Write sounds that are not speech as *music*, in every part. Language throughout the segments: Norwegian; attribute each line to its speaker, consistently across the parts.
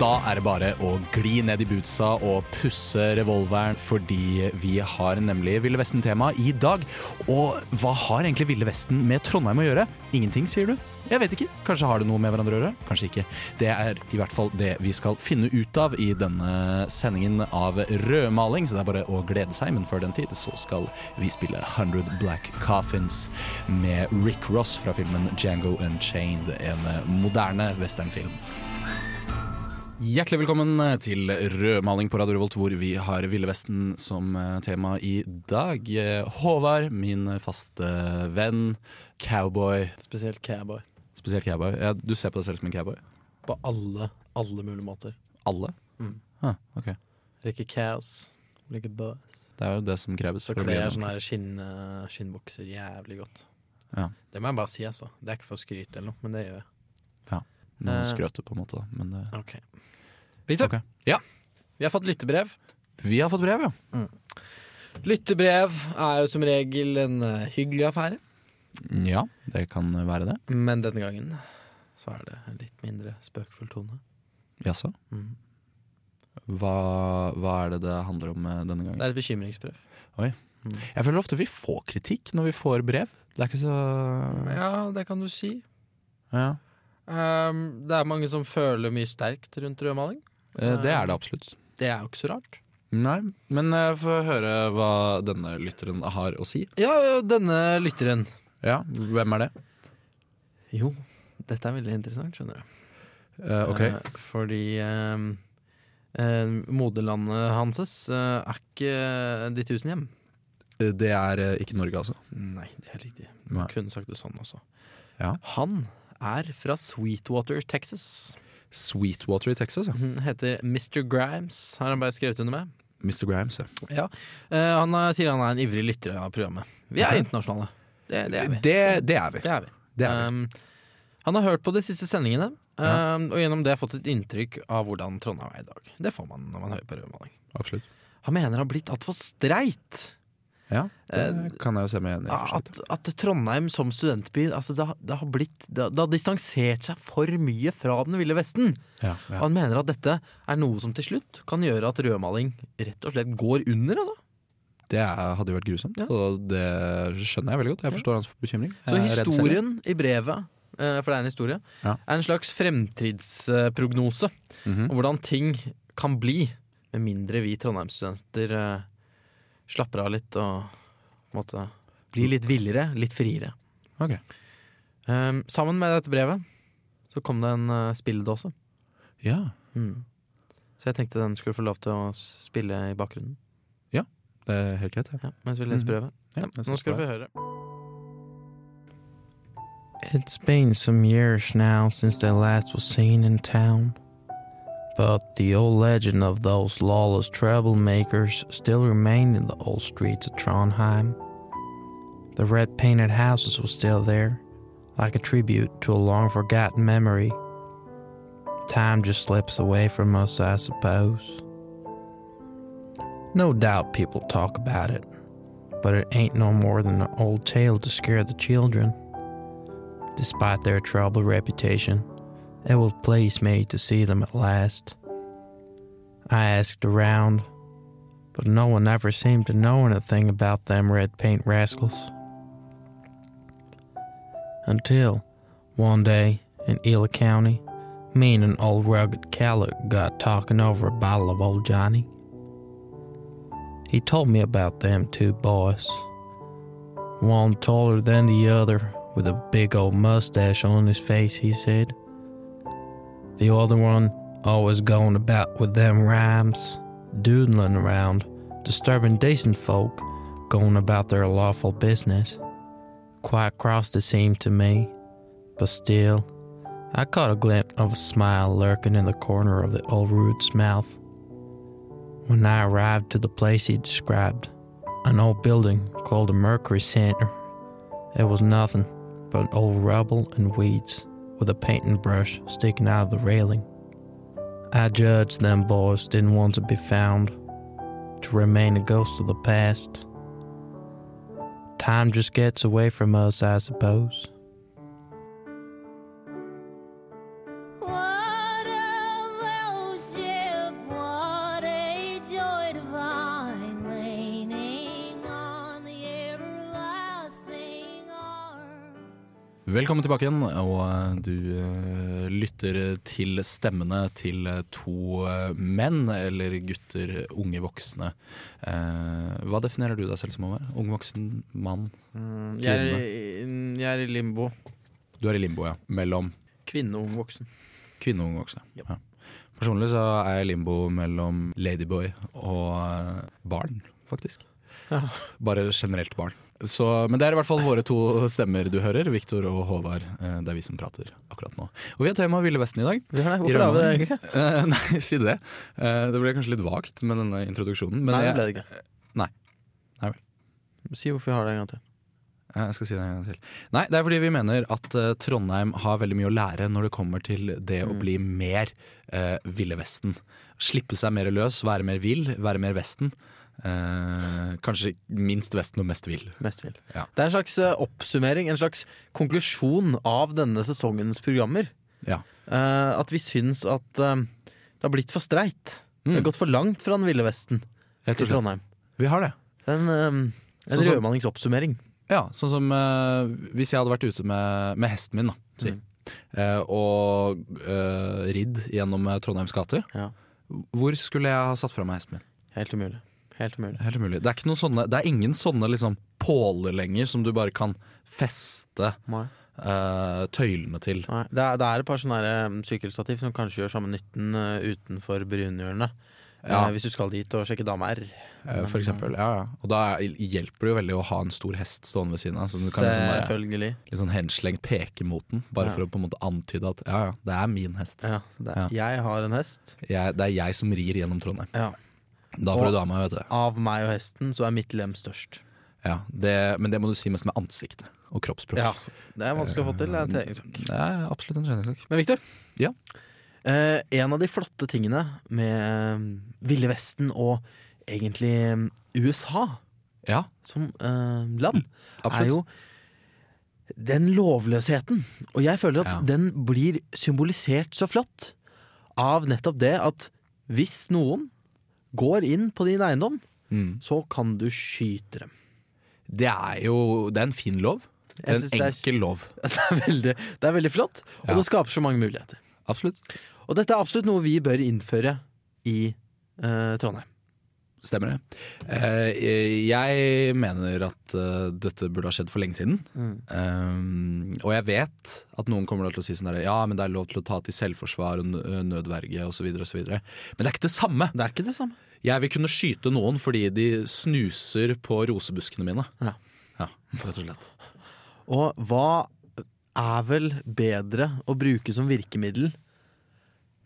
Speaker 1: Da er det bare å gli ned i bootsa og pusse revolveren, fordi vi har nemlig Ville Vesten-tema i dag. Og hva har egentlig Ville Vesten med Trondheim å gjøre? Ingenting, sier du? Jeg vet ikke. Kanskje har det noe med hverandre å gjøre? Kanskje ikke. Det er i hvert fall det vi skal finne ut av i denne sendingen av rødmaling, så det er bare å glede seg. Men før den tid så skal vi spille 100 Black Coffins med Rick Ross fra filmen Django Unchained, en moderne westernfilm. Hjertelig velkommen eh, til Rødmaling på Radio Revolt, hvor vi har Ville Vesten som eh, tema i dag. Eh, Håvard, min faste venn, cowboy
Speaker 2: Spesielt cowboy.
Speaker 1: Spesielt cowboy. Ja, du ser på deg selv som en cowboy?
Speaker 2: På alle, alle mulige måter.
Speaker 1: Alle?
Speaker 2: Mm.
Speaker 1: Ah, ok.
Speaker 2: Liker cows, liker buzz.
Speaker 1: Det er jo det som kreves.
Speaker 2: Så
Speaker 1: for å bli
Speaker 2: kler jeg
Speaker 1: en-
Speaker 2: sånne her skinn, eh, skinnbukser jævlig godt.
Speaker 1: Ja.
Speaker 2: Det må jeg bare si, altså. Det er ikke for å skryte eller noe, men det gjør jeg.
Speaker 1: Noen
Speaker 2: Eh.
Speaker 1: skrøter på en måte, da, men eh, det
Speaker 2: Ok Victor,
Speaker 1: Ok. Ja,
Speaker 2: vi har fått lyttebrev.
Speaker 1: vi har fått brev, ja.
Speaker 2: Lyttebrev er jo som regel en eh, hyggelig affære,
Speaker 1: Ja, det kan være det.
Speaker 2: men denne gangen så er det en litt mindre spøkfull tone.
Speaker 1: Jaså?
Speaker 2: Mm.
Speaker 1: Hva, hva er det det handler om eh, denne gangen?
Speaker 2: Det er et bekymringsbrev.
Speaker 1: Jeg føler ofte vi får kritikk når vi får brev. Det er ikke så
Speaker 2: Ja, det kan du si.
Speaker 1: ja.
Speaker 2: Um, det er mange som føler mye sterkt rundt rødmaling.
Speaker 1: Eh, Det er det absolutt.
Speaker 2: Det er jo ikke så rart.
Speaker 1: Nei, men eh, få høre hva denne lytteren har å si.
Speaker 2: Ja, denne lytteren.
Speaker 1: Ja, Hvem er det?
Speaker 2: Jo, dette er veldig interessant, skjønner du.
Speaker 1: Eh, ok,
Speaker 2: Eh, fordi eh, eh, moderlandet hanses eh, er ikke de tusen hjem.
Speaker 1: Eh, Det er eh, ikke Norge, altså.
Speaker 2: Nei, det er helt riktig.
Speaker 1: Nei.
Speaker 2: Kunne sagt det sånn også.
Speaker 1: Ja.
Speaker 2: Han er fra Sweetwater, Texas.
Speaker 1: Sweetwater i Texas, ja.
Speaker 2: Han heter Mr. Grimes, har han bare skrevet under med.
Speaker 1: Mr. Grimes, ja.
Speaker 2: Ja. Eh, han eh, sier han er en ivrig lytter av programmet. Vi er
Speaker 1: Ok.
Speaker 2: internasjonale. Det, det er vi.
Speaker 1: Det, det er vi.
Speaker 2: Det er vi.
Speaker 1: Det er vi.
Speaker 2: Um, han har hørt på de siste sendingene,
Speaker 1: Ja.
Speaker 2: um, og gjennom det fått et inntrykk av hvordan Trondheim er i dag. Det får man når man hører på rødmaling.
Speaker 1: Absolutt.
Speaker 2: Han mener han har blitt altfor streit.
Speaker 1: Ja,
Speaker 2: Eh,
Speaker 1: det kan jeg jo se meg enig i. for så vidt.
Speaker 2: At, at Trondheim som studentby altså det, har- det har blitt det, har- det har distansert seg for mye fra den ville vesten.
Speaker 1: Ja,
Speaker 2: Og
Speaker 1: ja.
Speaker 2: Han mener at dette er noe som til slutt kan gjøre at rødmaling rett og slett går under. Altså.
Speaker 1: Det er, hadde jo vært grusomt,
Speaker 2: Ja.
Speaker 1: og det skjønner jeg veldig godt. Jeg forstår hans bekymring.
Speaker 2: Så
Speaker 1: Jeg er redd selv.
Speaker 2: historien i brevet, eh, for det er en historie,
Speaker 1: Ja.
Speaker 2: er en slags fremtidsprognose.
Speaker 1: Mhm.
Speaker 2: Og hvordan ting kan bli, med mindre vi Trondheimsstudenter eh, slapper av litt og på en måte blir litt villere, litt friere.
Speaker 1: Ok.
Speaker 2: Ehm, sammen med dette brevet så kom det en uh, spilledåse.
Speaker 1: Ja,
Speaker 2: Så jeg tenkte den skulle få lov til å spille i bakgrunnen
Speaker 1: det er helt greit. Ja.
Speaker 2: ja, mens vi leser
Speaker 1: Mhm.
Speaker 2: brevet.
Speaker 1: Ja,
Speaker 2: Ja,
Speaker 1: jeg
Speaker 2: nå
Speaker 1: synes
Speaker 2: skal
Speaker 1: det
Speaker 2: vi høre. It's been some years now since they last was seen in town. But the old legend of those lawless troublemakers still remained in the old streets of Trondheim. The red painted houses were still there, like a tribute to a long forgotten memory. Time just slips away from us, I suppose. No doubt people talk about it, but it ain't no more than an old tale to scare the children. Despite their troubled reputation, it was pleased me to see them at last. I asked around, but no one ever seemed to know anything about them red paint rascals. Until one day in Ela County, me and an old rugged cowlick got talking over a bottle of old Johnny. He told me about them two boys. One taller than the other, with a big old mustache on his face, he said. The other one always going about with them rhymes, doodling around, disturbing decent folk, going about their lawful business. Quite cross it seemed to me, but still, I caught a glimpse of a smile lurking in the corner of the old root's mouth. When I arrived to the place he described, an old building called the Mercury Center, It was nothing but old rubble and weeds with a painting brush sticking out of the railing. I judged them boys didn't want to be found, to remain a ghost of the past. Time just gets away from us, I suppose.
Speaker 3: What a fellowship, what a joy divine, leaning on the everlasting arms.
Speaker 1: Velkommen tilbake igjen, og eh, du eh, lytter til stemmene til to eh, menn, eller gutter, unge voksne. Eh, Hva definerer du deg selv som å være? Ung voksen, mann?
Speaker 2: jeg, er i, jeg er i limbo.
Speaker 1: Du er i limbo, ja. Mellom
Speaker 2: Kvinne og ung voksen.
Speaker 1: kvinne og unge voksne. Ja. Personlig så er jeg i limbo mellom ladyboy og eh, barn, faktisk.
Speaker 2: Ja.
Speaker 1: Bare generelt barn. Så, men det er i hvert fall våre to stemmer du hører, Viktor og Håvard. Eh, Det er vi som prater akkurat nå. Og vi har tema Ville Vesten i dag.
Speaker 2: Hvorfor har vi det egentlig?
Speaker 1: Eh, *laughs* nei, si det. Eh, det ble kanskje litt vagt med denne introduksjonen. Men
Speaker 2: Nei, det
Speaker 1: jeg,
Speaker 2: ble det ikke.
Speaker 1: Nei. Nei
Speaker 2: Si hvorfor vi har det en gang til.
Speaker 1: Eh, jeg skal si det en gang til. Nei, det er fordi vi mener at eh, Trondheim har veldig mye å lære når det kommer til det
Speaker 2: Mm.
Speaker 1: å bli mer eh, Ville Vesten. Slippe seg mer løs, være mer vill, være mer Vesten. Eh, kanskje minst Vesten og mest vill.
Speaker 2: Mest vil.
Speaker 1: Ja.
Speaker 2: Det er en slags eh, oppsummering, en slags konklusjon av denne sesongens programmer.
Speaker 1: Ja.
Speaker 2: Eh, at vi syns at eh, det har blitt for streit. Det
Speaker 1: Mm,
Speaker 2: har gått for langt fra den ville vesten
Speaker 1: rett
Speaker 2: til
Speaker 1: og slett.
Speaker 2: Trondheim.
Speaker 1: Vi har det.
Speaker 2: Det er en, eh, en
Speaker 1: Sånn som-
Speaker 2: rødmanningsoppsummering.
Speaker 1: Ja, sånn som eh, hvis jeg hadde vært ute med, med hesten min, da, si.
Speaker 2: Mm.
Speaker 1: eh, og eh, ridd gjennom eh, Trondheims gater,
Speaker 2: Ja.
Speaker 1: hvor skulle jeg ha satt fra meg hesten min?
Speaker 2: Helt umulig. Helt umulig.
Speaker 1: Helt umulig. Det er, ikke noen sånne, det er ingen sånne liksom, påler lenger som du bare kan feste
Speaker 2: Nei.
Speaker 1: eh, tøylene til.
Speaker 2: Nei. Det, er, det er et par sånne her, eh, sykkelstativ som kanskje gjør samme nytten eh, utenfor brunhjørnet.
Speaker 1: Ja.
Speaker 2: Eh, hvis du skal dit og sjekke dame R.
Speaker 1: eh, for eksempel, ja, ja. Og da er- hjelper det jo veldig å ha en stor hest stående ved siden av. Så du kan liksom bare,
Speaker 2: Selvfølgelig.
Speaker 1: litt sånn henslengt peke mot den, bare
Speaker 2: Ja.
Speaker 1: for å på en måte antyde at ja, ja, det er min hest.
Speaker 2: Ja, det,
Speaker 1: Ja.
Speaker 2: Jeg har en hest.
Speaker 1: Jeg, det er jeg som rir gjennom Trondheim.
Speaker 2: Ja.
Speaker 1: Da får
Speaker 2: Og-
Speaker 1: du dama, vet du.
Speaker 2: Av meg og hesten så er mitt lem størst.
Speaker 1: Ja, det, men det må du si mest med ansiktet og kroppsspråk.
Speaker 2: Ja, Det er vanskelig å få til. Det er en treningssak.
Speaker 1: Det er absolutt en treningssak.
Speaker 2: Men Victor,
Speaker 1: Ja.
Speaker 2: eh, en av de flotte tingene med eh, Ville Vesten og egentlig eh, USA
Speaker 1: Ja,
Speaker 2: som eh, land,
Speaker 1: absolutt.
Speaker 2: er jo den lovløsheten. Og jeg føler
Speaker 1: Ja.
Speaker 2: at den blir symbolisert så flott av nettopp det at hvis noen går inn på din eiendom,
Speaker 1: mm.
Speaker 2: så kan du skyte dem.
Speaker 1: Det er jo det er en fin lov. Det
Speaker 2: Jeg
Speaker 1: er
Speaker 2: synes
Speaker 1: en
Speaker 2: det er-
Speaker 1: enkel lov.
Speaker 2: *laughs* Det er veldig, det er veldig flott, og
Speaker 1: Ja.
Speaker 2: det skaper så mange muligheter.
Speaker 1: Absolutt.
Speaker 2: Og dette er absolutt noe vi bør innføre i eh, Trondheim.
Speaker 1: Stemmer det. Eh, jeg mener at eh, dette burde ha skjedd for lenge siden.
Speaker 2: Mm.
Speaker 1: Um, og jeg vet at noen kommer da til å si sånn der, ja, men det er lov til å ta til selvforsvar og nø- nødverge osv. osv. Men det er ikke det samme.
Speaker 2: Det er ikke det samme.
Speaker 1: Jeg vil kunne skyte noen fordi de snuser på rosebuskene mine.
Speaker 2: Ja.
Speaker 1: ja rett og slett.
Speaker 2: Og hva er vel bedre å bruke som virkemiddel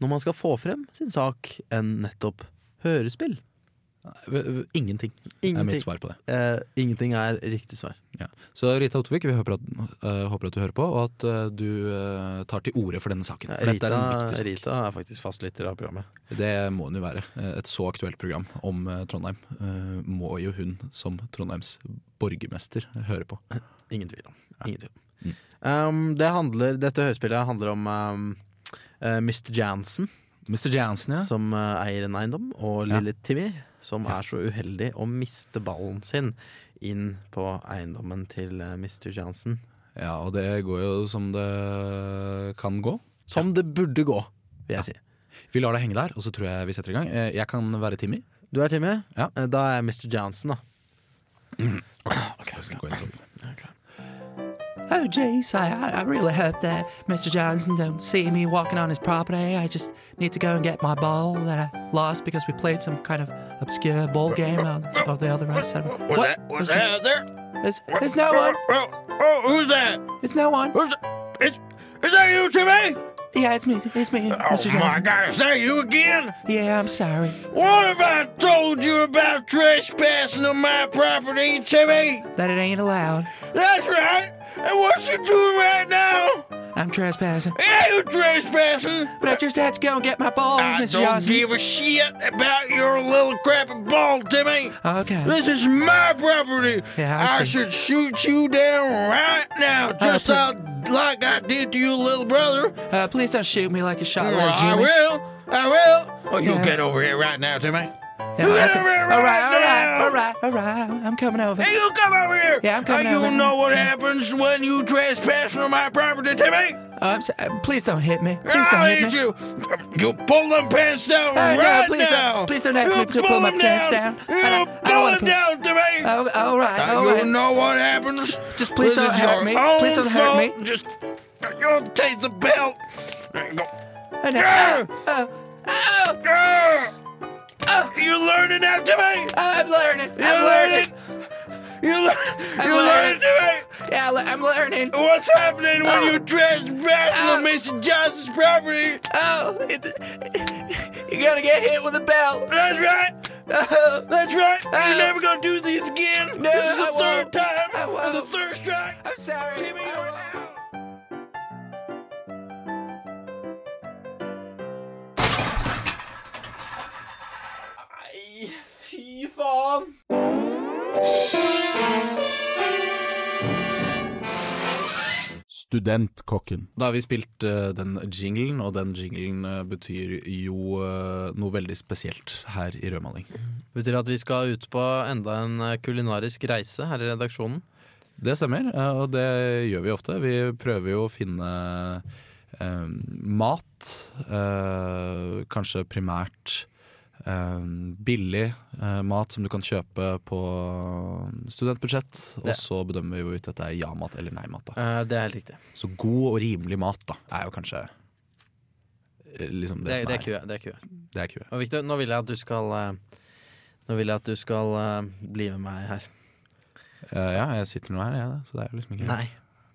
Speaker 2: når man skal få frem sin sak, enn nettopp hørespill?
Speaker 1: Eh, V- v- Ingenting, er mitt
Speaker 2: Ingenting
Speaker 1: svar på det.
Speaker 2: eh, ingenting er riktig svar.
Speaker 1: Ja. Så Rita Ottervik, vi håper at, eh, håper at du hører på, og at eh, du eh, tar til orde for denne saken.
Speaker 2: Ja,
Speaker 1: For dette
Speaker 2: Rita,
Speaker 1: er en viktig sak.
Speaker 2: Rita er faktisk fastlytter av programmet.
Speaker 1: Det må hun jo være. Eh, Et så aktuelt program om eh, Trondheim eh, må jo hun som Trondheims borgermester høre på.
Speaker 2: Ingen tvil om. Ingen tvil om.
Speaker 1: Mm.
Speaker 2: Um, det handler, dette hørespillet handler om um, eh, Mr. Jansen,
Speaker 1: Mr. Jansen, ja.
Speaker 2: som eh, eier en eiendom, og
Speaker 1: Ja.
Speaker 2: lille Timmy, som er så uheldig å miste ballen sin inn på eiendommen til eh, Mr. Jansen.
Speaker 1: ja. Og det går jo som det kan gå.
Speaker 2: Som det burde gå, vil jeg si.
Speaker 1: Vi lar det henge der, og så tror jeg vi setter i gang. Eh, Jeg kan være Timmy.
Speaker 2: Du er Timmy?
Speaker 1: Ja.
Speaker 2: Eh, Da er jeg Mr. Jansen, da.
Speaker 1: Okay, jeg skal gå inn sånn.
Speaker 4: Oh, jeez, I, I- I really hope that Mr. Johnson don't see me walking on his property. I just need to go and get my ball that I lost because we played some kind of obscure ball game on, on the other side. What? Was that, was that there? There's, there's no one.
Speaker 5: Oh, oh, who's that?
Speaker 4: It's no one.
Speaker 5: Who's that? Is, is that you, Timmy?
Speaker 4: Yeah, it's me. It's me, Mr.
Speaker 5: oh my
Speaker 4: Johnson.
Speaker 5: God, is that you again?
Speaker 4: Yeah, I'm sorry.
Speaker 5: What have I told you about trespassing on my property, Timmy?
Speaker 4: That it ain't allowed.
Speaker 6: That's right. And what you doing right now?
Speaker 4: I'm trespassing.
Speaker 6: Yeah, you trespassing.
Speaker 4: But I just had to go and get my ball,
Speaker 6: I
Speaker 4: Mr.
Speaker 6: don't
Speaker 4: Johnson.
Speaker 6: give a shit about your little crappy ball, Timmy.
Speaker 4: okay.
Speaker 6: This is my property.
Speaker 4: Yeah, I see.
Speaker 6: should shoot you down right now, just
Speaker 4: please.
Speaker 6: out like I did to your little brother.
Speaker 4: Uh, please don't shoot me like a shot,
Speaker 6: Well,
Speaker 4: little
Speaker 6: I
Speaker 4: Jimmy.
Speaker 6: will. I will. Oh, you
Speaker 4: Yeah.
Speaker 6: get over here right now, Timmy.
Speaker 4: Yeah,
Speaker 6: you get
Speaker 4: okay.
Speaker 6: over here
Speaker 4: all
Speaker 6: right
Speaker 4: right, all right,
Speaker 6: now.
Speaker 4: all right, all right. I'm coming over.
Speaker 6: Hey, you come over here.
Speaker 4: Yeah, I'm coming
Speaker 6: Uh, you
Speaker 4: over.
Speaker 6: know what happens when you trespass on my property, Timmy?
Speaker 4: Oh, I'm so- uh, please don't hit me. Please don't
Speaker 6: I'll
Speaker 4: hit me.
Speaker 6: eat you. You pull them pants down
Speaker 4: Oh, no,
Speaker 6: right
Speaker 4: please don't-
Speaker 6: now.
Speaker 4: please don't ask
Speaker 6: you
Speaker 4: me to pull my
Speaker 6: them
Speaker 4: pants down.
Speaker 6: You
Speaker 4: I don't- I don't
Speaker 6: pull them
Speaker 4: wanna pull-
Speaker 6: down, Timmy.
Speaker 4: Oh, all right,
Speaker 6: Uh,
Speaker 4: all
Speaker 6: you
Speaker 4: right.
Speaker 6: know what happens?
Speaker 4: Just please
Speaker 6: This
Speaker 4: don't
Speaker 6: is
Speaker 4: hurt
Speaker 6: your
Speaker 4: me.
Speaker 6: own
Speaker 4: Please don't hurt me.
Speaker 6: fault. Just you'll taste the belt. There you go.
Speaker 4: Oh, no.
Speaker 6: Yeah.
Speaker 4: Oh, oh,
Speaker 6: Ah! You learning now, Timmy?
Speaker 4: uh. I'm learning.
Speaker 6: You
Speaker 4: I'm learning.
Speaker 6: You learn. You learning,
Speaker 4: learning.
Speaker 6: Timmy?
Speaker 4: Yeah, le- I'm learning.
Speaker 6: What's happening when
Speaker 4: Oh.
Speaker 6: you trespass on
Speaker 4: Oh.
Speaker 6: Mr. Johnson's property?
Speaker 4: Oh, it, you're gonna get hit with a belt.
Speaker 6: That's right.
Speaker 4: Oh,
Speaker 6: That's right. You're
Speaker 4: Oh.
Speaker 6: never gonna do this again.
Speaker 4: No,
Speaker 6: this is the
Speaker 4: I
Speaker 6: 3rd
Speaker 4: won't.
Speaker 6: time.
Speaker 4: I
Speaker 6: This is The
Speaker 4: won't.
Speaker 6: third strike.
Speaker 4: I'm sorry.
Speaker 6: Timmy,
Speaker 4: I
Speaker 6: you're
Speaker 4: won't.
Speaker 6: out.
Speaker 1: Fy faen! Studentkokken. Da har vi spilt eh, den jinglen, og den jinglen eh, betyr jo eh, noe veldig spesielt her i Rødmaling.
Speaker 2: Betyr at vi skal ut på enda en eh, kulinarisk reise her i redaksjonen.
Speaker 1: Det stemmer, eh, og det gjør vi ofte. Vi prøver jo å finne eh, mat, eh, kanskje primært eh, billig eh, mat som du kan kjøpe på studentbudsjett. Og
Speaker 2: Det-
Speaker 1: så bedømmer vi hvorvidt dette er ja-mat eller nei-mat. da.
Speaker 2: Eh, det er helt riktig.
Speaker 1: Så god og rimelig mat da, er jo kanskje eh, liksom
Speaker 2: Det,
Speaker 1: det,
Speaker 2: det er
Speaker 1: som er.
Speaker 2: kue. Det er kue.
Speaker 1: Det er kue.
Speaker 2: Og Victor, nå vil jeg at du skal eh, Nå vil jeg at du skal eh, bli med meg her.
Speaker 1: Eh, ja, jeg sitter nå her, jeg, da, så det er jo liksom ikke
Speaker 7: Nei.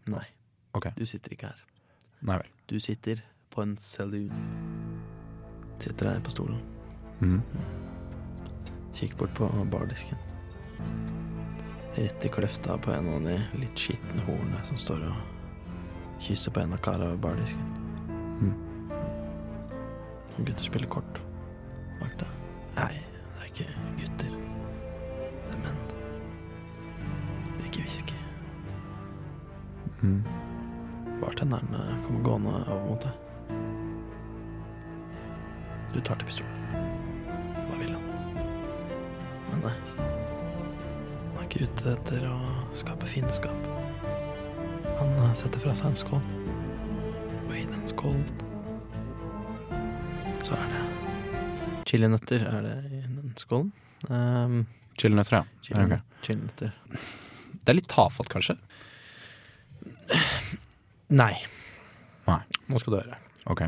Speaker 7: Nei.
Speaker 1: Ok.
Speaker 7: Du sitter ikke her.
Speaker 1: Nei vel.
Speaker 7: Du sitter på en saloon. Sitter her på stolen.
Speaker 1: Mhm.
Speaker 7: Kikk bort på bardisken. Rett i kløfta på en av de litt skitne hornene som står og kysser på en av karene ved bardisken. Hm. Noen gutter spiller kort bak deg. Nei, det er ikke gutter. Det er menn. Det er ikke whisky. Bartenderen eh, kommer gående over mot deg. Du tar til pistolen. Hva vil han? Men nei. Han er ikke ute etter å skape fiendskap. Han eh, setter fra seg en skål. Og i den skålen så er det
Speaker 2: Chilinøtter er det i den skålen.
Speaker 7: Ehm,
Speaker 2: Um,
Speaker 1: Chilinøtter, ja.
Speaker 2: chili,
Speaker 1: Ok.
Speaker 2: Chilinøtter.
Speaker 1: Det er litt tafatt, kanskje.
Speaker 2: Nei.
Speaker 1: Nei.
Speaker 2: Nå skal du høre.
Speaker 1: Ok.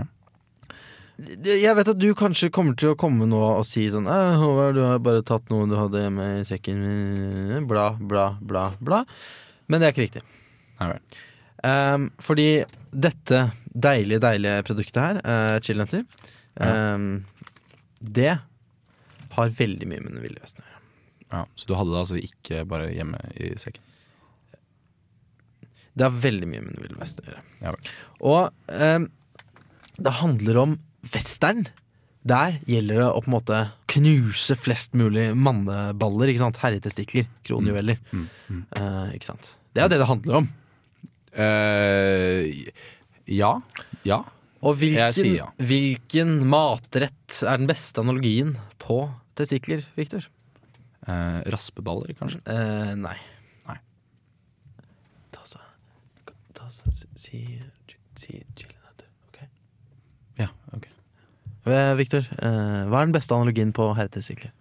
Speaker 2: Jeg vet at du kanskje kommer til å komme nå og si sånn «Eh, Håvard, du har bare tatt noe du hadde hjemme i sekken Bla, bla, bla, bla Men det er ikke riktig
Speaker 1: Nei vel.
Speaker 2: Ehm, Fordi dette deilige, deilige produktet her uh, Chillenøtter ehm, Det har veldig mye med den ville vesten å gjøre
Speaker 1: Ja, så du hadde det altså ikke bare hjemme i sekken?
Speaker 2: Det har veldig mye med den ville vesten å gjøre
Speaker 1: Ja vel.
Speaker 2: Og ehm, det handler om western. Der gjelder det å på en måte knuse flest mulig manneballer. ikke sant? Herretestikler, kronjuveler. Eh, ikke sant? Det er jo det det handler om.
Speaker 1: Eh, ja. Ja.
Speaker 2: Og hvilken,
Speaker 1: Jeg sier ja.
Speaker 2: hvilken matrett er den beste analogien på testikler, Victor?
Speaker 1: Eh, raspeballer, kanskje?
Speaker 2: Eh, nei.
Speaker 7: Ta så, ta så Si, si chilinøtter, OK?
Speaker 1: Ja, ok.
Speaker 2: Eh, Victor, eh, hva er den beste analogien på herretestikler?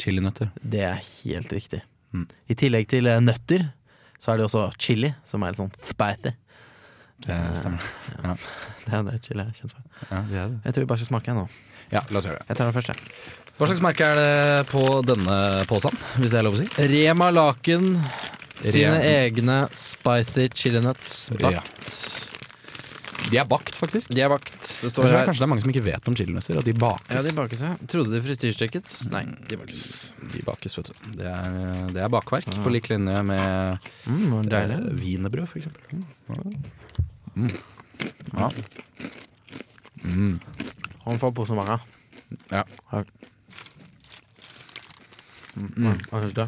Speaker 1: Chilinøtter.
Speaker 2: Det er helt riktig.
Speaker 1: Mm.
Speaker 2: I tillegg til eh, nøtter, så er det også chili, som er litt sånn spicy. *laughs*
Speaker 1: Det stemmer.
Speaker 2: Det er det chili jeg er kjent for.
Speaker 1: Eh, Ja, det er det.
Speaker 2: Jeg tror vi bare skal smake jeg nå.
Speaker 1: ja, la oss gjøre det.
Speaker 2: Jeg tar den først, jeg.
Speaker 1: Hva slags merke er det på denne posen, hvis det er lov å si?
Speaker 2: Rema Laken sine
Speaker 1: Rema.
Speaker 2: egne spicy chili nuts bakt
Speaker 1: De er bakt, faktisk. Eh,
Speaker 2: De er vakt. Det
Speaker 1: Jeg
Speaker 2: står
Speaker 1: tror
Speaker 2: her.
Speaker 1: kanskje det er mange som ikke vet om chilinøtter, at de bakes.
Speaker 2: Ja, de bakes, ja. Trodde de frityrstekket?
Speaker 1: Mm.
Speaker 2: Nei, de bakes.
Speaker 1: De bakes, vet du. Det er, det er bakverk, på lik linje med
Speaker 2: Mm, det var
Speaker 1: eh,
Speaker 2: deilig.
Speaker 1: wienerbrød, for eksempel. Mm. Ja. Mm.
Speaker 2: Han får på så mange.
Speaker 1: Ja.
Speaker 2: Her.
Speaker 1: Mm.
Speaker 2: Hva syns du?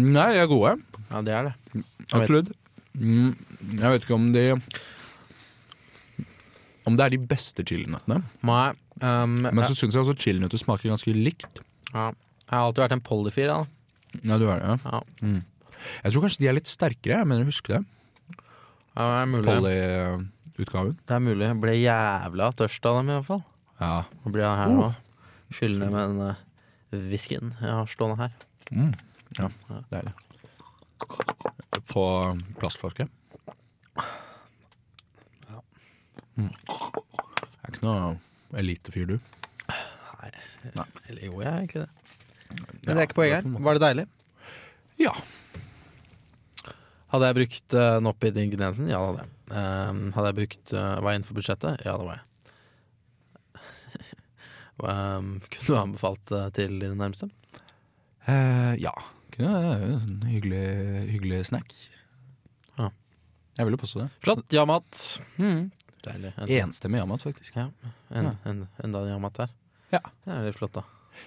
Speaker 1: Nei, de er gode.
Speaker 2: Ja, det er det. Jeg vet.
Speaker 1: Absolutt. Mm. Jeg vet ikke om de Om det er de beste chilinøttene.
Speaker 2: Nei, ehm,
Speaker 1: Men så syns jeg også chilinøtter smaker ganske likt.
Speaker 2: ja. Jeg har alltid vært en polyfil. Da.
Speaker 1: Ja, du er det,
Speaker 2: Ja.
Speaker 1: Mm. Jeg tror kanskje de er litt sterkere, jeg mener å huske det.
Speaker 2: Ja, det, er mulig.
Speaker 1: Polly-utgaven.
Speaker 2: det er mulig. Jeg ble jævla tørst av dem, iallfall.
Speaker 1: Ja.
Speaker 2: Nå blir jeg her
Speaker 1: Oh.
Speaker 2: nå. Skyldende med den uh, whiskyen jeg har stående her.
Speaker 1: Mm. ja. Deilig. På plastflaske. Mm. Jeg er ikke noe elitefyr, du.
Speaker 2: Eller jo, jeg er egentlig det. Men
Speaker 1: Ja,
Speaker 2: det er ikke poenget
Speaker 1: på en
Speaker 2: her.
Speaker 1: måte.
Speaker 2: Var det deilig?
Speaker 1: Ja.
Speaker 2: Hadde jeg brukt uh, den opp i den ingrediensen? Ja, det hadde jeg. Ehm, hadde jeg brukt eh, Var jeg innenfor budsjettet? Ja, det var jeg. *laughs* Ehm, kunne du anbefalt eh, til dine nærmeste?
Speaker 1: Eh, ja. Kunne det er en hyggelig, hyggelig snack.
Speaker 2: Ja.
Speaker 1: Jeg vil jo påstå det.
Speaker 2: Flott. Jamat. Deilig. En,
Speaker 1: Enstemmig ja-mat, faktisk.
Speaker 2: Ja, en, en, enda en jamat der.
Speaker 1: Ja.
Speaker 2: Det er litt flott, da.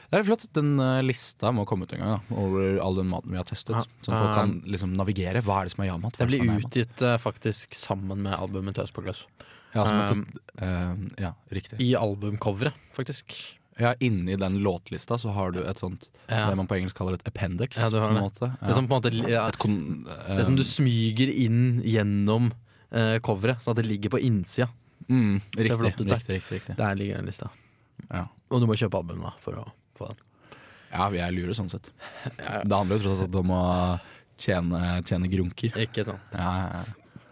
Speaker 1: Det er flott. Den eh, lista må komme ut en gang, da, over all den maten vi har testet.
Speaker 2: Ja.
Speaker 1: Sånn at folk kan liksom navigere. Hva er det som er ja-mat? hva
Speaker 2: Det
Speaker 1: er det
Speaker 2: blir
Speaker 1: som er nei-mat?
Speaker 2: utgitt eh, faktisk sammen med albumet Tøs på gløss.
Speaker 1: Ja, som at,
Speaker 2: Um,
Speaker 1: eh, ja, riktig.
Speaker 2: I albumcoveret, faktisk.
Speaker 1: Ja, inni den låtlista så har du et sånt
Speaker 2: Ja.
Speaker 1: det man på engelsk kaller et appendix.
Speaker 2: Ja, du har
Speaker 1: på en
Speaker 2: det.
Speaker 1: måte. Ja.
Speaker 2: Det som på en måte ja,
Speaker 1: et kon... eh,
Speaker 2: Det som du smyger inn gjennom eh, coveret, sånn at det ligger på innsida.
Speaker 1: mm,
Speaker 2: ser
Speaker 1: riktig,
Speaker 2: flott ut,
Speaker 1: riktig,
Speaker 2: da.
Speaker 1: riktig, riktig.
Speaker 2: Der ligger den lista.
Speaker 1: Ja.
Speaker 2: Og du må kjøpe albumet da, for å få den.
Speaker 1: Ja, vi er lure sånn
Speaker 2: *laughs*
Speaker 1: sett. Det handler jo tross alt om å tjene, tjene grunker.
Speaker 2: Ikke sant.
Speaker 1: Ja, ja, ja.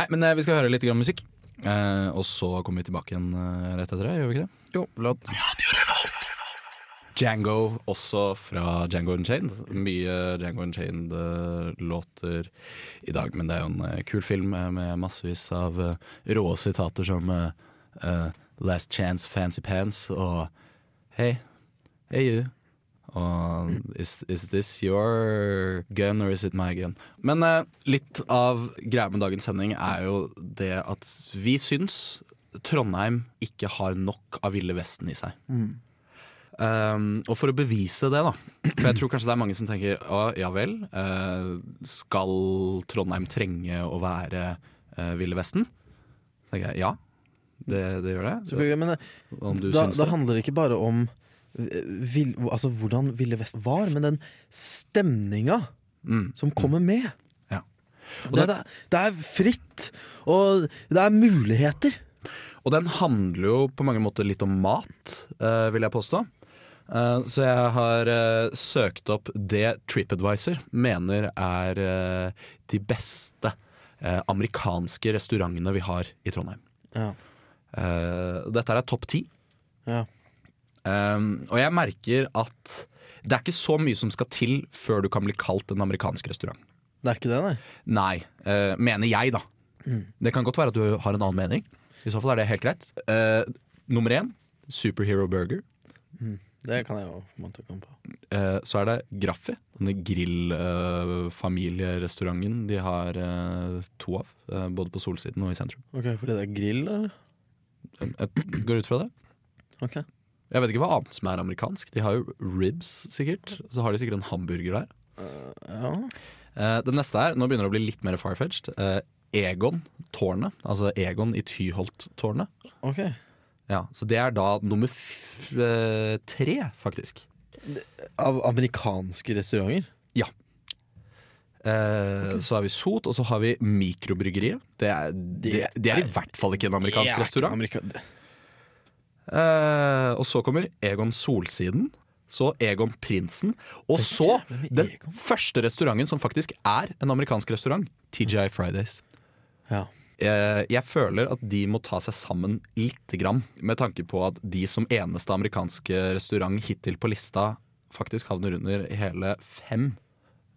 Speaker 1: Nei, men eh, vi skal høre litt grann musikk. Eh, og så kommer vi tilbake igjen eh, rett etter det, gjør vi ikke det?
Speaker 2: Jo, flott.
Speaker 1: Django, også fra Django Unchained. Mye Django Unchained-låter i dag, men det er jo en eh, kul film eh, med massevis av eh, rå sitater som eh, eh, Last Chance Fancy Pants og Hey, hey you. Og is, is this your gun or is it my gun? Men eh, litt av greia med dagens sending er jo det at vi syns Trondheim ikke har nok av Ville Vesten i seg. Um, og for å bevise det, da For jeg tror kanskje det er mange som tenker ah, ja vel, eh, skal Trondheim trenge å være eh, Ville Vesten? Så tenker jeg ja, det, det gjør det.
Speaker 2: Men eh,
Speaker 1: om du
Speaker 2: da,
Speaker 1: syns
Speaker 2: da
Speaker 1: det.
Speaker 2: handler det ikke bare om eh, vil, altså, hvordan Ville Vesten var, men den stemninga
Speaker 1: Mm.
Speaker 2: som kommer med.
Speaker 1: Ja. Og
Speaker 2: Det, det, det er fritt, og det er muligheter.
Speaker 1: Og den handler jo på mange måter litt om mat, eh, vil jeg påstå. Eh, så jeg har eh, søkt opp det TripAdvisor mener er eh, de beste eh, amerikanske restaurantene vi har i Trondheim.
Speaker 2: Ja.
Speaker 1: Eh, dette her er topp ti.
Speaker 2: Ja.
Speaker 1: Um, og jeg merker at det er ikke så mye som skal til før du kan bli kalt en amerikansk restaurant.
Speaker 2: Det er ikke det, nei.
Speaker 1: Nei, eh, mener jeg, da. Det kan godt være at du har en annen mening. I så fall er det helt greit. Eh, nummer én, Superhero Burger.
Speaker 2: Det kan jeg jo man tok om på.
Speaker 1: Eh, så er det Graffi, denne grillfamilierestauranten de har eh, to av. eh, både på solsiden og i sentrum.
Speaker 2: Ok, Fordi det er grill, eller?
Speaker 1: Jeg går ut fra det.
Speaker 2: Ok.
Speaker 1: Jeg vet ikke hva annet som er amerikansk. De har jo ribs, sikkert. Så har de sikkert en hamburger der.
Speaker 2: Ja.
Speaker 1: Eh, det neste er, nå begynner det å bli litt mer farfetched, eh, Egon-tårnet. Altså Egon i Tyholt-tårnet.
Speaker 2: Ok.
Speaker 1: Ja, så det er da nummer f eh, tre, faktisk.
Speaker 2: Av amerikanske restauranter?
Speaker 1: Eh, Så har vi Sot, og så har vi Mikrobryggeriet. Det er, det, det er i hvert fall ikke en amerikansk restaurant. Eh, og så kommer Egon Solsiden. Så Egon Prinsen. Og så
Speaker 2: jævlig med
Speaker 1: den
Speaker 2: Egon.
Speaker 1: første restauranten som faktisk er en amerikansk restaurant, TGI Fridays.
Speaker 2: Ja.
Speaker 1: Eh, jeg føler at de må ta seg sammen lite grann, med tanke på at de som eneste amerikanske restaurant hittil på lista faktisk havner under hele fem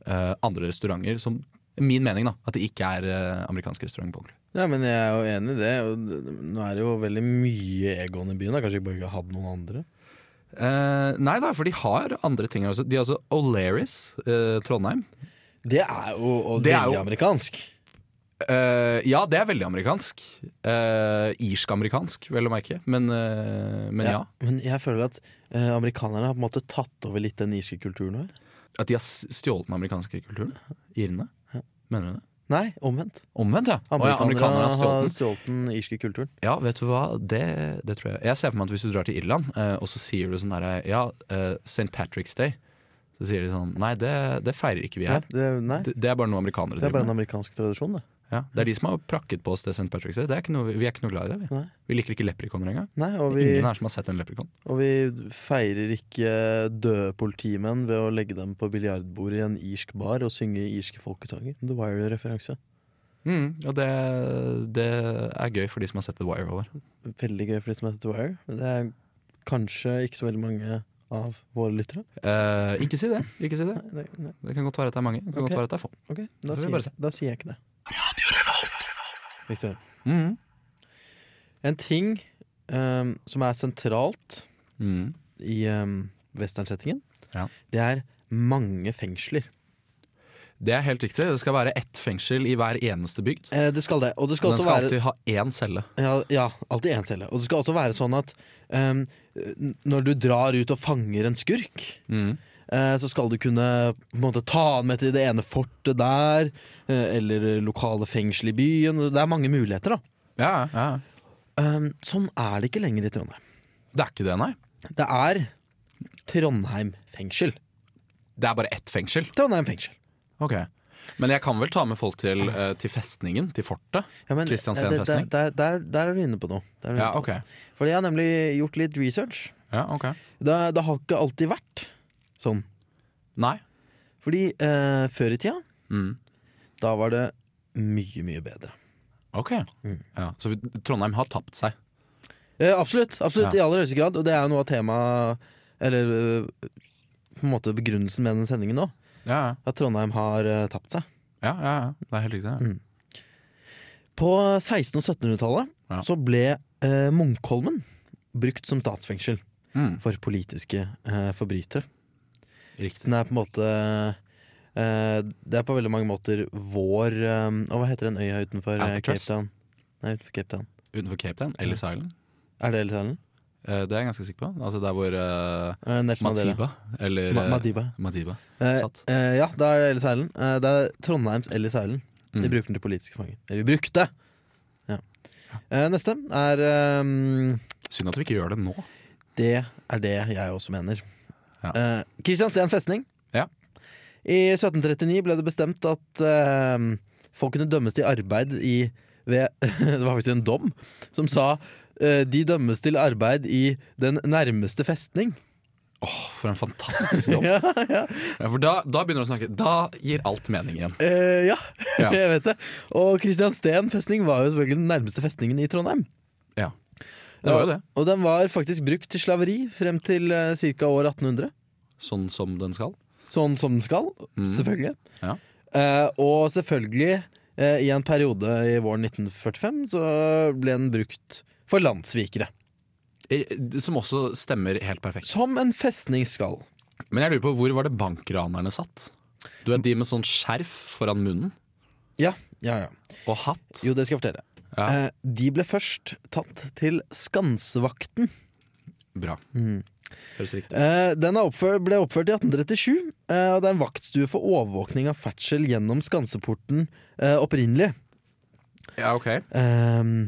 Speaker 1: eh, andre restauranter som Min mening, da. At det ikke er eh, amerikansk restaurant på ordentlig.
Speaker 2: Ja, men jeg er jo enig i det. og d- d- Nå er det jo veldig mye Egon i byen. Da. Kanskje vi bare ikke har hatt noen andre?
Speaker 1: Eh, nei da, for de har andre ting også. De har også O'Learys eh, Trondheim.
Speaker 2: Det er jo og
Speaker 1: Det er
Speaker 2: veldig
Speaker 1: jo-
Speaker 2: amerikansk.
Speaker 1: Eh, ja, det er veldig amerikansk. Eh, Irsk-amerikansk, vel å merke. Men, eh, men ja.
Speaker 2: Men jeg føler at eh, amerikanerne har på en måte tatt over litt den irske kulturen her.
Speaker 1: At de har s- stjålet den amerikanske kulturen? Irene? Mener du det?
Speaker 2: Nei, omvendt.
Speaker 1: Omvendt, ja. Å, ja.
Speaker 2: Amerikanere,
Speaker 1: Amerikanerne har stjålet
Speaker 2: har
Speaker 1: den.
Speaker 2: stjålet den irske kulturen.
Speaker 1: Ja, vet du hva? Det, det tror jeg. Jeg ser for meg at hvis du drar til Irland, eh, og så sier du sånn derre Ja, eh, St. Patrick's Day. Så sier de sånn Nei, det, det feirer ikke vi
Speaker 2: Ja,
Speaker 1: her.
Speaker 2: det, nei,
Speaker 1: Det, det er bare noe amerikanere
Speaker 2: det er bare
Speaker 1: driver
Speaker 2: en
Speaker 1: med.
Speaker 2: amerikansk tradisjon, det.
Speaker 1: Ja, det er de som har prakket på oss det St. Patrick's Day. Det er ikke noe, vi er ikke noe glad i det. Vi,
Speaker 2: Nei.
Speaker 1: vi liker ikke leprikoner engang.
Speaker 2: Nei, og vi,
Speaker 1: Ingen her som har sett en leprikon.
Speaker 2: og vi feirer ikke døde politimenn ved å legge dem på biljardbordet i en irsk bar og synge irske folkesanger. The Wire-referanse.
Speaker 1: Mm, og det, det er gøy for de som har sett The Wire over.
Speaker 2: Veldig gøy for de som heter The Wire. Men Det er kanskje ikke så veldig mange av våre lyttere.
Speaker 1: Eh, ikke si det. ikke si Det
Speaker 2: Nei, nei, nei.
Speaker 1: Det kan godt være at det er mange. Det kan
Speaker 2: Ok.
Speaker 1: godt være at det er få.
Speaker 2: Ok,
Speaker 1: Da
Speaker 2: da
Speaker 1: får vi
Speaker 2: sier,
Speaker 1: bare
Speaker 2: jeg, da sier jeg ikke det. Victor,
Speaker 1: Mm.
Speaker 2: en ting ehm, som er sentralt
Speaker 1: Mm.
Speaker 2: i um, westernsettingen,
Speaker 1: Ja.
Speaker 2: det er mange fengsler.
Speaker 1: Det er helt riktig. Det skal være ett fengsel i hver eneste bygd.
Speaker 2: Eh, det skal det. Og det skal
Speaker 1: Den
Speaker 2: også
Speaker 1: skal
Speaker 2: være
Speaker 1: alltid ha én celle.
Speaker 2: Ja, ja alltid én celle. Og det skal også være sånn at ehm, n- når du drar ut og fanger en skurk, eh, så skal du kunne på en måte, ta han med til det ene fortet der, eh, eller lokale fengsel i byen. Det er mange muligheter, da.
Speaker 1: Ja, ja, ja.
Speaker 2: Ehm, sånn er det ikke lenger i Trondheim.
Speaker 1: Det er ikke det, nei.
Speaker 2: Det er Trondheim fengsel.
Speaker 1: Det er bare ett fengsel.
Speaker 2: Trondheim fengsel.
Speaker 1: Ok Men jeg kan vel ta med folk til, eh, til festningen, til fortet?
Speaker 2: Ja, men,
Speaker 1: Kristiansand
Speaker 2: eh, det-
Speaker 1: festning?
Speaker 2: Der, der, der er du inne på noe. Der er du
Speaker 1: Ja,
Speaker 2: inne på
Speaker 1: ok.
Speaker 2: noe. Fordi jeg har nemlig gjort litt research.
Speaker 1: Ja, ok
Speaker 2: Det, det har ikke alltid vært sånn.
Speaker 1: Nei.
Speaker 2: Fordi eh, før i tida,
Speaker 1: Mm.
Speaker 2: da var det mye, mye bedre.
Speaker 1: Ok. Ja, så vi, Trondheim har tapt seg.
Speaker 2: Eh, absolutt. absolutt
Speaker 1: Ja.
Speaker 2: I aller høyeste grad. Og det er jo noe av temaet Eller eh, på en måte begrunnelsen med den sendingen nå.
Speaker 1: Ja,
Speaker 2: At Trondheim har eh, tapt seg.
Speaker 1: ja, ja, ja. Det er helt riktig. Ja.
Speaker 2: På 1600- og 1700-tallet
Speaker 1: Ja.
Speaker 2: så ble eh, Munkholmen brukt som statsfengsel
Speaker 1: Mm.
Speaker 2: for politiske eh, forbrytere.
Speaker 1: Riktig.
Speaker 2: Så den er på en måte eh, Det er på veldig mange måter vår eh, Og hva heter den øya utenfor eh, Cape
Speaker 1: Alcatraz?
Speaker 2: Town? Nei, utenfor Cape Town.
Speaker 1: Utenfor Cape Town. Ellis Island.
Speaker 2: Er det Ellis Island?
Speaker 1: Eh, det er jeg ganske sikker på. Altså der hvor eh,
Speaker 2: Eh, Nelson Mandela.
Speaker 1: Madiba eller
Speaker 2: Ma
Speaker 1: eh,
Speaker 2: Madiba.
Speaker 1: Madiba.
Speaker 2: Eh,
Speaker 1: Satt.
Speaker 2: eh, ja, det er Ellis Island. Eh, det er Trondheims Ellis Island. De
Speaker 1: Mm.
Speaker 2: bruker den til politiske fanger. Eller vi brukte! Ja. Eh, neste er eh,
Speaker 1: Synd at vi ikke gjør det nå.
Speaker 2: Det er det jeg også mener.
Speaker 1: Ja.
Speaker 2: Eh, Kristiansten festning.
Speaker 1: Ja.
Speaker 2: I 1739 ble det bestemt at eh, folk kunne dømmes til arbeid i ved, *laughs* Det var faktisk en dom som sa eh, de dømmes til arbeid i den nærmeste festning.
Speaker 1: Åh, for en
Speaker 2: *laughs*
Speaker 1: fantastisk jobb. ja, for da, da begynner du å snakke. Da gir alt mening igjen.
Speaker 2: Eh, ja,
Speaker 1: Ja.
Speaker 2: *laughs* jeg vet det. Og Kristiansten festning var jo selvfølgelig den nærmeste festningen i Trondheim.
Speaker 1: Ja. Det var jo det.
Speaker 2: Og den var faktisk brukt til slaveri frem til uh, ca. år 1800.
Speaker 1: Sånn som den skal.
Speaker 2: Sånn som den skal, selvfølgelig.
Speaker 1: Mm. Ja.
Speaker 2: Eh, og selvfølgelig, eh, i en periode i våren 1945, så ble den brukt for landssvikere.
Speaker 1: Eh, Som også stemmer helt perfekt.
Speaker 2: Som en festning skal.
Speaker 1: Men jeg lurer på, hvor var det bankranerne satt? Du vet de med sånn skjerf foran munnen
Speaker 2: Ja, ja, ja.
Speaker 1: og hatt?
Speaker 2: Jo, det skal jeg fortelle.
Speaker 1: Ja.
Speaker 2: Eh, de ble først tatt til Skansevakten.
Speaker 1: Bra. Høres riktig ut.
Speaker 2: Eh, den er oppfør- ble oppført i 1837, eh, og det er en vaktstue for overvåkning av ferdsel gjennom Skanseporten eh, opprinnelig.
Speaker 1: Ja, ok.
Speaker 2: Ehm,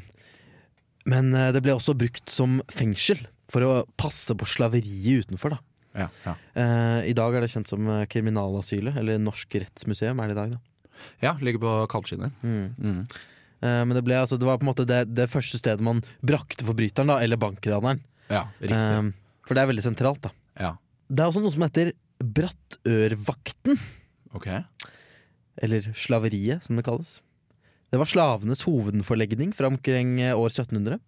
Speaker 2: men eh, det ble også brukt som fengsel for å passe på slaveriet utenfor. da.
Speaker 1: Ja, ja.
Speaker 2: Eh, I dag er det kjent som eh, Kriminalasylet, eller Norsk rettsmuseum. er det i dag da.
Speaker 1: ja ligger på kaldskinner. Mm.
Speaker 2: Eh, men det, ble, altså, det var på en måte det, det første stedet man brakte forbryteren, da, eller bankraneren.
Speaker 1: Ja, riktig.
Speaker 2: Ehm, for det er veldig sentralt. da.
Speaker 1: Ja,
Speaker 2: Det er også noe som heter Brattørvakten,
Speaker 1: ok.
Speaker 2: eller slaveriet, som det kalles. Det var slavenes hovedforlegning fra omkring eh, år 1700.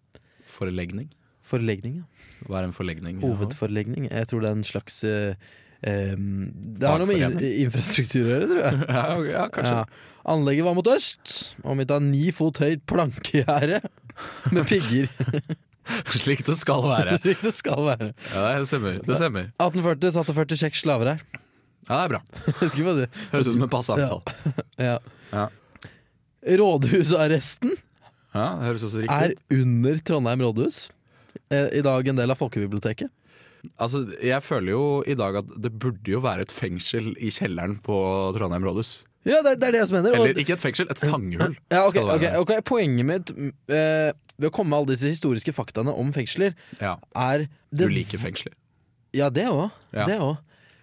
Speaker 1: Forlegning.
Speaker 2: Forlegning, ja.
Speaker 1: Hva er en forlegning?
Speaker 2: Hovedforlegning. Jeg tror det er en slags eh, Eh, det har noe med in infrastruktur å gjøre, tror
Speaker 1: *laughs*
Speaker 2: jeg.
Speaker 1: *laughs* Ja, ok, ja, kanskje.
Speaker 2: Ja. Anlegget var mot øst, omgitt av ni fot høyt plankegjerde med
Speaker 1: *laughs*
Speaker 2: pigger, *laughs*
Speaker 1: Slik det skal være.
Speaker 2: slik det skal være.
Speaker 1: Ja, det stemmer. Det stemmer.
Speaker 2: 1840 satt det 46 *laughs* slaver her.
Speaker 1: Ja, det er bra.
Speaker 2: Vet ikke hva det
Speaker 1: Høres ut som en passe avtale.
Speaker 2: ja.
Speaker 1: Ja.
Speaker 2: Rådhusarresten
Speaker 1: Ja, det høres også
Speaker 2: er
Speaker 1: riktig ut.
Speaker 2: under Trondheim rådhus. Eh, I dag en del av folkebiblioteket.
Speaker 1: Altså, jeg føler jo i dag at det burde jo være et fengsel i kjelleren på Trondheim rådhus.
Speaker 2: Ja, det, det er det jeg som mener. og-
Speaker 1: Eller ikke et fengsel, et fangehull.
Speaker 2: ja, ok,
Speaker 1: skal det være.
Speaker 2: ok, ok. Poenget mitt mm, eh, ved å komme med alle disse historiske faktaene om fengsler,
Speaker 1: Ja,
Speaker 2: er
Speaker 1: du
Speaker 2: det,
Speaker 1: liker fengsler.
Speaker 2: Ja, det òg.
Speaker 1: Ja.
Speaker 2: Det òg.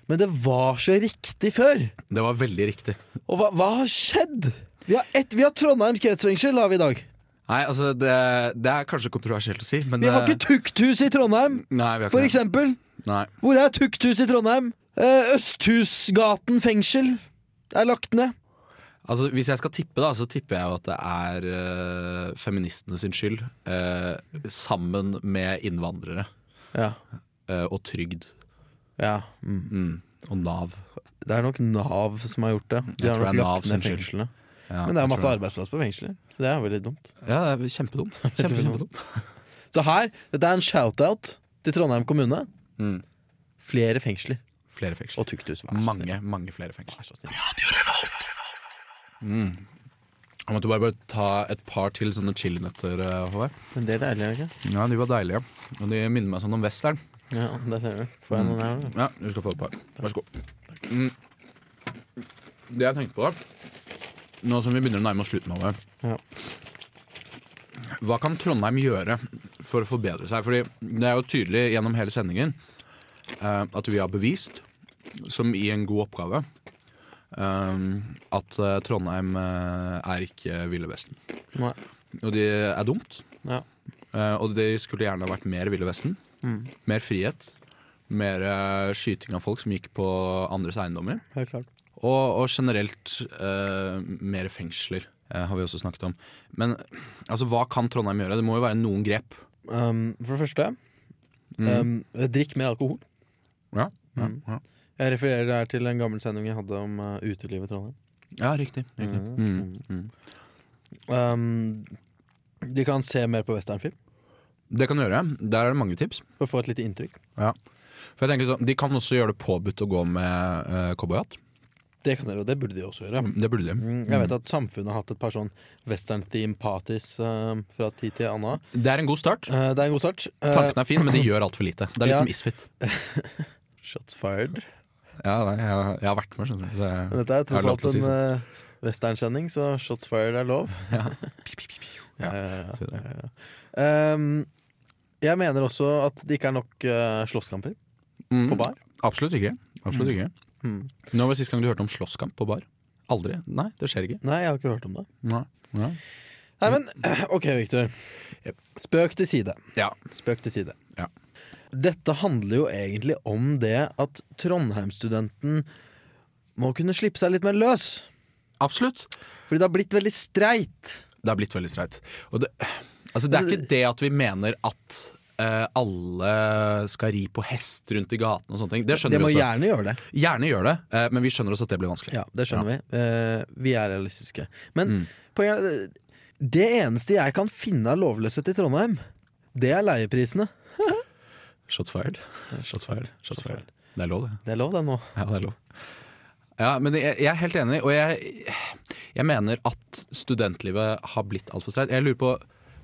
Speaker 2: Men det var så riktig før!
Speaker 1: Det var veldig riktig.
Speaker 2: Og hva, hva har skjedd? Vi har, ett- vi har Trondheims kretsfengsel har vi i dag.
Speaker 1: Nei, altså, det, det er kanskje kontroversielt å si, men
Speaker 2: Vi har
Speaker 1: eh,
Speaker 2: ikke tukthus i Trondheim,
Speaker 1: Nei, vi har
Speaker 2: for
Speaker 1: ikke det.
Speaker 2: eksempel.
Speaker 1: Nei.
Speaker 2: Hvor er tukthus i Trondheim? Eh, Østhusgaten fengsel er lagt ned.
Speaker 1: Altså, hvis jeg skal tippe, da, så tipper jeg jo at det er eh, feministene sin skyld. eh, sammen med innvandrere
Speaker 2: Ja.
Speaker 1: eh, og trygd
Speaker 2: ja. Mm.
Speaker 1: mm. og Nav.
Speaker 2: Det er nok Nav som har gjort det. De
Speaker 1: Jeg
Speaker 2: har
Speaker 1: tror
Speaker 2: nok
Speaker 1: det er Nav
Speaker 2: lagt
Speaker 1: sin
Speaker 2: ned
Speaker 1: skyld.
Speaker 2: fengslene.
Speaker 1: Ja,
Speaker 2: Men det er
Speaker 1: jeg
Speaker 2: jo masse
Speaker 1: tror
Speaker 2: arbeidsplass på fengsler, så det er veldig dumt.
Speaker 1: Ja, det er kjempedum. Kjempe,
Speaker 2: *laughs* Kjempedumt. Så her, dette er en shout-out til Trondheim kommune.
Speaker 1: Mm.
Speaker 2: Flere fengsler
Speaker 1: *laughs* Flere fengsler.
Speaker 2: og tukthus. Vær så snill.
Speaker 1: Mange, mange flere fengsler.
Speaker 2: Vær så snill.
Speaker 1: Mm. Jeg måtte bare, bare ta et par til sånne chilinøtter, eh, Håvard.
Speaker 2: Men det er deilig, er det ikke?
Speaker 1: Ja, de var deilige. Og de minner meg sånn om western.
Speaker 2: Ja, der ser du. Får jeg noen her? da?
Speaker 1: Ja, du skal få et par. Vær så god. Mm. Det jeg tenkte på, nå som vi begynner å nærme oss slutten av det
Speaker 2: Ja.
Speaker 1: Hva kan Trondheim gjøre for å forbedre seg? Fordi det er jo tydelig gjennom hele sendingen eh, at vi har bevist, som i en god oppgave, eh, at eh, Trondheim eh, er ikke Ville Vesten.
Speaker 2: Nei.
Speaker 1: Og det er dumt.
Speaker 2: Ja.
Speaker 1: Eh, og det skulle gjerne vært mer Ville Vesten.
Speaker 2: Mm.
Speaker 1: Mer frihet. Mer eh, skyting av folk som gikk på andres eiendommer.
Speaker 2: Helt klart.
Speaker 1: Og, og generelt eh, mer fengsler eh, har vi også snakket om. Men altså, hva kan Trondheim gjøre? Det må jo være noen grep.
Speaker 2: Um, for det første,
Speaker 1: Mm.
Speaker 2: um, drikk mer alkohol.
Speaker 1: ja, ja,
Speaker 2: Mm.
Speaker 1: ja.
Speaker 2: Jeg refererer her til en gammel sending jeg hadde om uh, utelivet i Trondheim.
Speaker 1: ja, riktig. riktig.
Speaker 2: Mm.
Speaker 1: Mm. Mm.
Speaker 2: Um, de kan se mer på westernfilm
Speaker 1: Det kan du gjøre. Der er det mange tips.
Speaker 2: for å få et lite inntrykk.
Speaker 1: For jeg tenker sånn, De kan også gjøre det påbudt å gå med eh, cowboyhatt.
Speaker 2: Det kan dere, og det burde de også gjøre.
Speaker 1: Det burde de.
Speaker 2: Mm, Jeg vet at samfunnet har hatt et par sånn western-theme parties um, fra tid til annen.
Speaker 1: Det er en god start.
Speaker 2: Uh, det er en god start. Uh,
Speaker 1: Tanken er fin, men de gjør altfor lite. Det er litt
Speaker 2: Ja.
Speaker 1: som Isfit.
Speaker 2: Shots fired.
Speaker 1: Ja, nei, jeg, jeg har vært med, skjønner du. Så jeg,
Speaker 2: Men dette er
Speaker 1: Jeg
Speaker 2: tross
Speaker 1: har lov
Speaker 2: alt
Speaker 1: til å si sånn?
Speaker 2: en eh, westernsending, så shots fired er
Speaker 1: *laughs*
Speaker 2: lov. Ja, ja,
Speaker 1: så det.
Speaker 2: ja, ja, ja. Um, jeg mener også at det ikke er nok eh, slåsskamper
Speaker 1: Mm.
Speaker 2: på bar.
Speaker 1: Absolutt ikke. Absolutt ikke.
Speaker 2: Mm.
Speaker 1: Når var sist gang du hørte om slåsskamp på bar? Aldri? Nei, det skjer ikke.
Speaker 2: Nei, jeg har ikke hørt om det.
Speaker 1: Nei. Nei.
Speaker 2: Nei,
Speaker 1: Mm.
Speaker 2: men *clears throat* eh, OK, Victor. Spøk til side.
Speaker 1: Ja.
Speaker 2: Spøk til side.
Speaker 1: Ja.
Speaker 2: Dette handler jo egentlig om det at Trondheim-studenten må kunne slippe seg litt mer løs.
Speaker 1: Absolutt.
Speaker 2: Fordi det har blitt veldig streit.
Speaker 1: Det har blitt veldig streit. Og det, altså, det er ikke det at vi mener at eh, alle skal ri på hest rundt i gaten og sånne ting. Det
Speaker 2: Det
Speaker 1: skjønner
Speaker 2: må
Speaker 1: vi også.
Speaker 2: gjerne gjøre det.
Speaker 1: Gjerne gjør det, eh, men vi skjønner også at det blir vanskelig.
Speaker 2: Ja, det skjønner vi. Eh, vi er realistiske. Men
Speaker 1: Mm.
Speaker 2: poenget er eh, det eneste jeg kan finne av lovløshet i Trondheim, det er leieprisene.
Speaker 1: Shots fired. Shots fired. Shots fired. Det er lov, det.
Speaker 2: Det er lov, det nå.
Speaker 1: Ja, det er lov. Ja, men jeg, jeg er helt enig, og jeg, jeg mener at studentlivet har blitt altfor streit. Jeg lurer på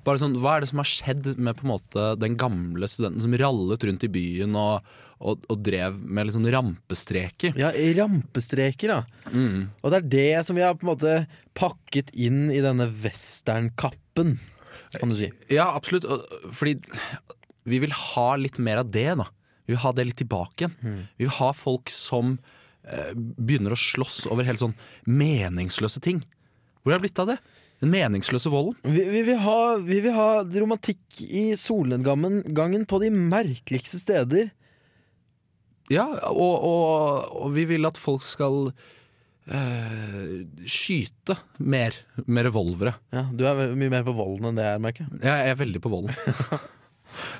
Speaker 1: bare sånn, Hva er det som har skjedd med på en måte den gamle studenten som rallet rundt i byen og, og, og drev med litt sånn rampestreker?
Speaker 2: Ja, rampestreker, da.
Speaker 1: Mm.
Speaker 2: Og det er det som vi har på en måte pakket inn i denne westernkappen, kan du si.
Speaker 1: Ja, absolutt. og- Fordi vi vil ha litt mer av det. da Vi vil ha det litt tilbake igjen. Vi vil ha folk som eh, begynner å slåss over helt sånn meningsløse ting. Hvor er det blitt av det? Den meningsløse volden?
Speaker 2: Vi, vi, vil ha, vi vil ha romantikk i solnedgangen gangen på de merkeligste steder.
Speaker 1: Ja, og, og, og vi vil at folk skal eh, skyte mer med revolvere.
Speaker 2: Ja, Du er ve- mye mer på volden enn det jeg er, merker jeg.
Speaker 1: Jeg er veldig på volden.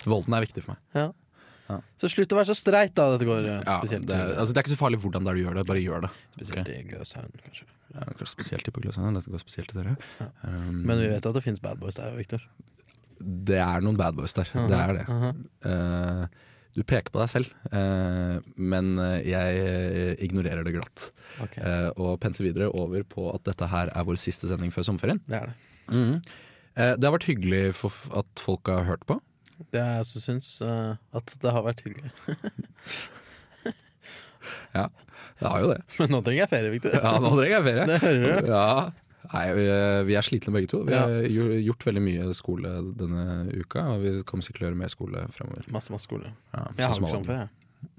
Speaker 1: volden er viktig for meg.
Speaker 2: Ja.
Speaker 1: Ja.
Speaker 2: Så slutt å være så streit, da. Dette går eh,
Speaker 1: Ja, det,
Speaker 2: spesielt
Speaker 1: er, altså, det er ikke så farlig hvordan det er du gjør det, bare gjør det.
Speaker 2: Spesielt i Gløshaugen, kanskje.
Speaker 1: Ja, det går spesielt i Pugløsene, dette går spesielt til dere. Um,
Speaker 2: Men vi vet at det finnes bad boys der, Victor.
Speaker 1: det er noen bad boys der, det er det. Eh, du peker på deg selv, eh, men eh, jeg eh, ignorerer det glatt.
Speaker 2: Ok.
Speaker 1: Eh, og penser videre over på at dette her er vår siste sending før sommerferien.
Speaker 2: Det er det.
Speaker 1: Eh, det har vært hyggelig for f at folk har hørt på.
Speaker 2: Det er jeg som syns eh, at det har vært hyggelig. *laughs*
Speaker 1: Det har jo det.
Speaker 2: Men nå trenger jeg ferie, Victor.
Speaker 1: *laughs* Ja, nå trenger jeg ferie.
Speaker 2: *laughs* Det hører du.
Speaker 1: Ja. Nei, vi, eh, vi er slitne begge to. Vi
Speaker 2: Ja.
Speaker 1: har gjo- gjort veldig mye skole denne uka, og vi kommer sikkert til å gjøre mer skole fremover.
Speaker 2: Masse, masse skole.
Speaker 1: Ja,
Speaker 2: Men Jeg har
Speaker 1: sånn som alle
Speaker 2: ikke sånn
Speaker 1: andre.
Speaker 2: før, jeg.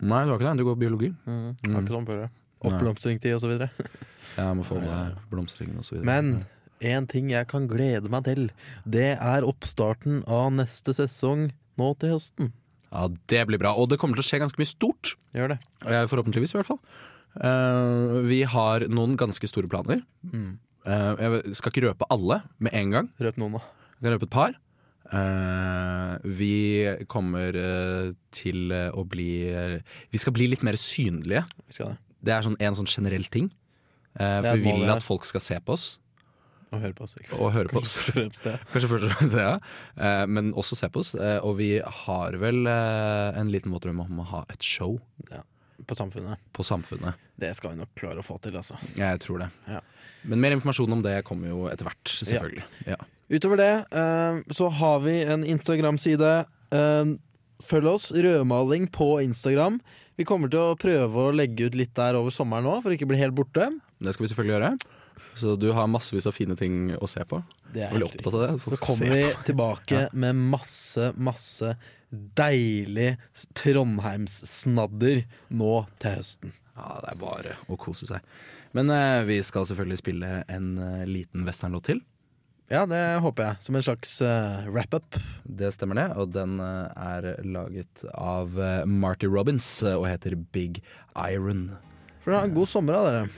Speaker 1: Nei, du har ikke det. Du går biologi.
Speaker 2: Mm. Jeg har ikke sånn før, jeg. Oppblomstringstid og så
Speaker 1: *laughs*
Speaker 2: videre.
Speaker 1: Jeg må få med deg blomstringen osv.
Speaker 2: Men en ting jeg kan glede meg til, det er oppstarten av neste sesong nå til høsten.
Speaker 1: Ja, det blir bra. Og det kommer til å skje ganske mye stort.
Speaker 2: Gjør det.
Speaker 1: Eh, Forhåpentligvis, i hvert fall. Eh, vi har noen ganske store planer. Eh, jeg vet- skal ikke røpe alle med en gang.
Speaker 2: Røp noen, da.
Speaker 1: Jeg kan røpe et par. Eh, vi kommer eh, til eh, å bli Vi skal bli litt mer synlige.
Speaker 2: Vi skal det.
Speaker 1: Det er sånn, en sånn generell ting. Eh,
Speaker 2: Det er
Speaker 1: for
Speaker 2: et
Speaker 1: vi
Speaker 2: mål
Speaker 1: vil
Speaker 2: vi har.
Speaker 1: at folk skal se på oss
Speaker 2: Og hør på oss, Victor.
Speaker 1: og høre på
Speaker 2: *laughs*
Speaker 1: oss.
Speaker 2: Først og fremst det.
Speaker 1: *laughs* Kanskje først og fremst det, ja. Eh, Men også se på oss. Eh, Og vi har vel eh, en liten våt drøm om å ha et show
Speaker 2: På samfunnet.
Speaker 1: på Samfunnet.
Speaker 2: Det skal vi nok klare å få til, altså.
Speaker 1: Jeg tror det.
Speaker 2: Ja.
Speaker 1: Men mer informasjon om det kommer jo etter hvert, selvfølgelig. Ja.
Speaker 2: Utover det eh, så har vi en Instagram-side. Eh, følg oss, rødmaling på Instagram. Vi kommer til å prøve å legge ut litt der over sommeren nå, for å ikke bli helt borte.
Speaker 1: Det skal vi selvfølgelig gjøre. Så du har massevis av fine ting å se på.
Speaker 2: Det
Speaker 1: Jeg er veldig opptatt av det. at folk
Speaker 2: Så
Speaker 1: skal se
Speaker 2: kommer vi tilbake med masse, masse deilig Trondheimssnadder nå til høsten.
Speaker 1: Ja, det er bare å kose seg. Men eh, vi skal selvfølgelig spille en eh, liten westernlåt til.
Speaker 2: Ja, det håper jeg. Som en slags eh, wrap-up.
Speaker 1: Det stemmer det, og den eh, er laget av eh, Marty Robbins eh, og heter Big Iron.
Speaker 2: For ha en god sommer, da, dere.